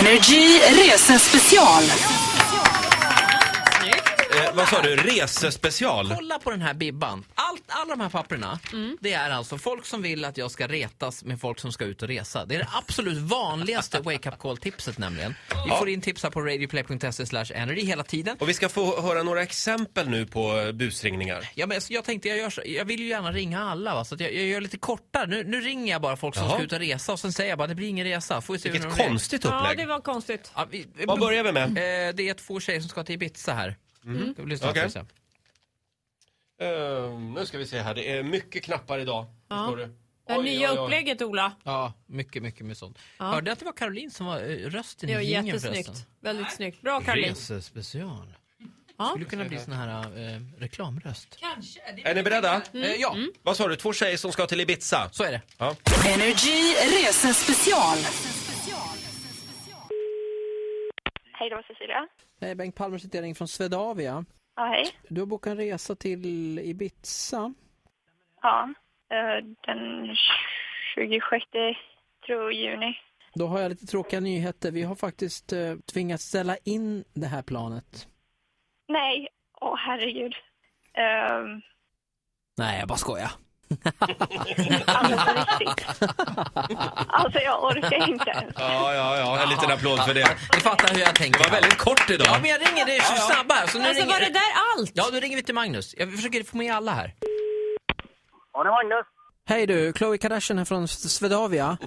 Energy resespecial. Eh, vad sa du? Resespecial? Kolla på den här bibban. Allt, alla de här papperna, det är alltså folk som vill att jag ska retas med folk som ska ut och resa. Det är det absolut vanligaste wake up call-tipset nämligen. Vi får in tips här på radioplay.se slash energy hela tiden. Och vi ska få höra några exempel nu på eh, busringningar. Ja, men så jag tänkte, jag, gör så, jag vill ju gärna ringa alla va? så att jag, jag gör lite kortare. Nu, nu ringer jag bara folk som Jaha. ska ut och resa och sen säger jag bara det blir ingen resa. Får vi se hur Vilket de reagerar. konstigt Ja, upplägg. det var konstigt. Ja, vi, Vad börjar vi med? eh, det är två tjejer som ska till Ibiza här. Mm. Okej. Eh, nu ska vi se här, det är mycket knappar idag. Förstår du? Det här nya upplägget Ola. Ja, mycket, mycket med sånt. Hörde att det var Caroline som var eh, rösten Det var i jingeln jättesnyggt. Väldigt snyggt. Bra Caroline. Resespecial. Ja. Skulle kunna bli sån här eh, reklamröst. Är ni beredda? Eh, ja, Vad sa du? Två tjejer som ska till Ibiza? så är det. Ja. Energy resespecial. Hej, det var Cecilia. Hej, Bengt Palmer sitter jag från Swedavia. Ja, hej. Du har bokat en resa till Ibiza. Ja, eh, den 26 tror juni. Då har jag lite tråkiga nyheter. Vi har faktiskt eh, tvingats ställa in det här planet. Nej, åh herregud. Um, Nej, jag bara skojar. alltså på riktigt. Alltså jag orkar inte. Ja, ja, ja, en liten applåd för det. Ni fattar hur jag tänker. Det var väldigt kort idag. Ja, men jag ringer. Det är så snabbt här. Så nu Alltså ringer... var det där allt? Ja, då ringer vi till Magnus. Jag försöker få med alla här. Ja, det är Magnus. Hej du, Chloe Kardashian här från Swedavia.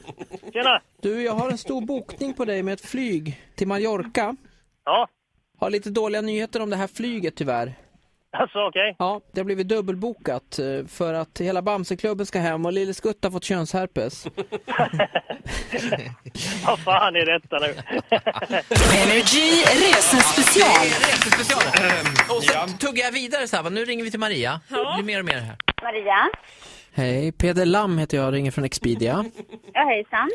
Tjena! Du, jag har en stor bokning på dig med ett flyg till Mallorca. Ja, Har lite dåliga nyheter om det här flyget tyvärr. alltså okej. Ja, det har blivit dubbelbokat eh, för att hela Bamseklubben ska hem och Lille Skutt har fått könsherpes. Vad fan är detta nu? Energy resespecial. Och så tuggar jag vidare så här, va? nu ringer vi till Maria. Det blir mer och mer här. Maria. Hej, Peder Lam heter jag och ringer från Expedia. Ja, hejsan.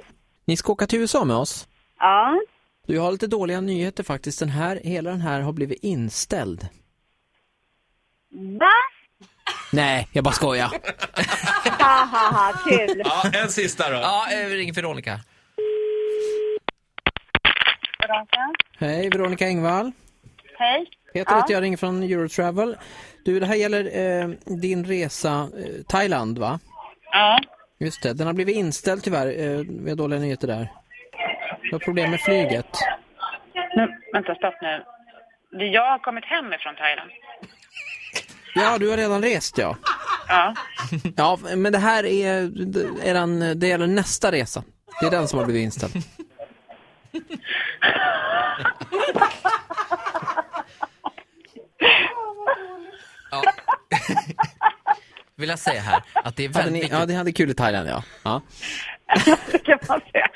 Ni ska åka till USA med oss. Ja, Du jag har lite dåliga nyheter faktiskt. Den här, hela den här har blivit inställd. va? Nej, jag bara skojar. Ha, ha, ha, kul. Ja, en sista då. Ja, eh, vi ringer Veronica. Hej, Veronica Engvall. Hej. Peter heter jag, ringer från Eurotravel. Du, det här gäller eh, din resa eh, Thailand, va? Ja. Just det, den har blivit inställd tyvärr. Eh, vi har dåliga nyheter där. Du har problem med flyget. Men, vänta, stopp nu. Det- Jag har kommit hem ifrån Thailand. Ja, du har redan rest ja. Ja. Ja, men det här är, det- eran, det gäller nästa resa. Det är den som har blivit inställd. vill jag säga här att det är Hade väldigt ni, viktigt. ja, det hade kul i Thailand ja. ja. Det kan man säga.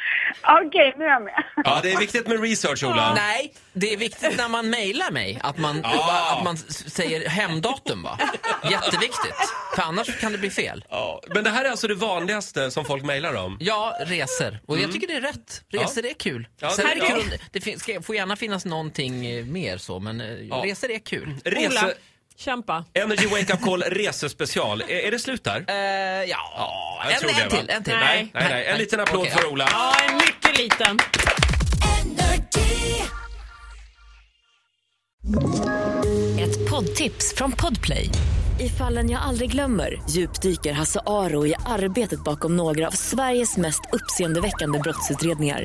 Okej, nu är jag med. Ja, det är viktigt med research, Ola. Nej, det är viktigt när man mejlar mig att man, Ja. att man s- säger hemdatum va? Jätteviktigt. För annars kan det bli fel. Ja. Men det här är alltså det vanligaste som folk mejlar om. Ja, resor. Och jag tycker det är rätt. Resor är kul. Mm. Ja, Sen det- är det, kul ja. om- det fin- ska, får gärna finnas någonting eh, mer så, men eh, resor är kul. Ola, Rese... kämpa. Energy Wake Up Call resespecial. Är, är det slut där? Eh, ja, en, tror det, en va? till. En till. Nej, nej, nej. En liten applåd Okej, för Ola. Ja, en mycket liten. Ett poddtips från Podplay. I fallen jag aldrig glömmer djupdyker Hasse Aro i arbetet bakom några av Sveriges mest uppseendeväckande brottsutredningar.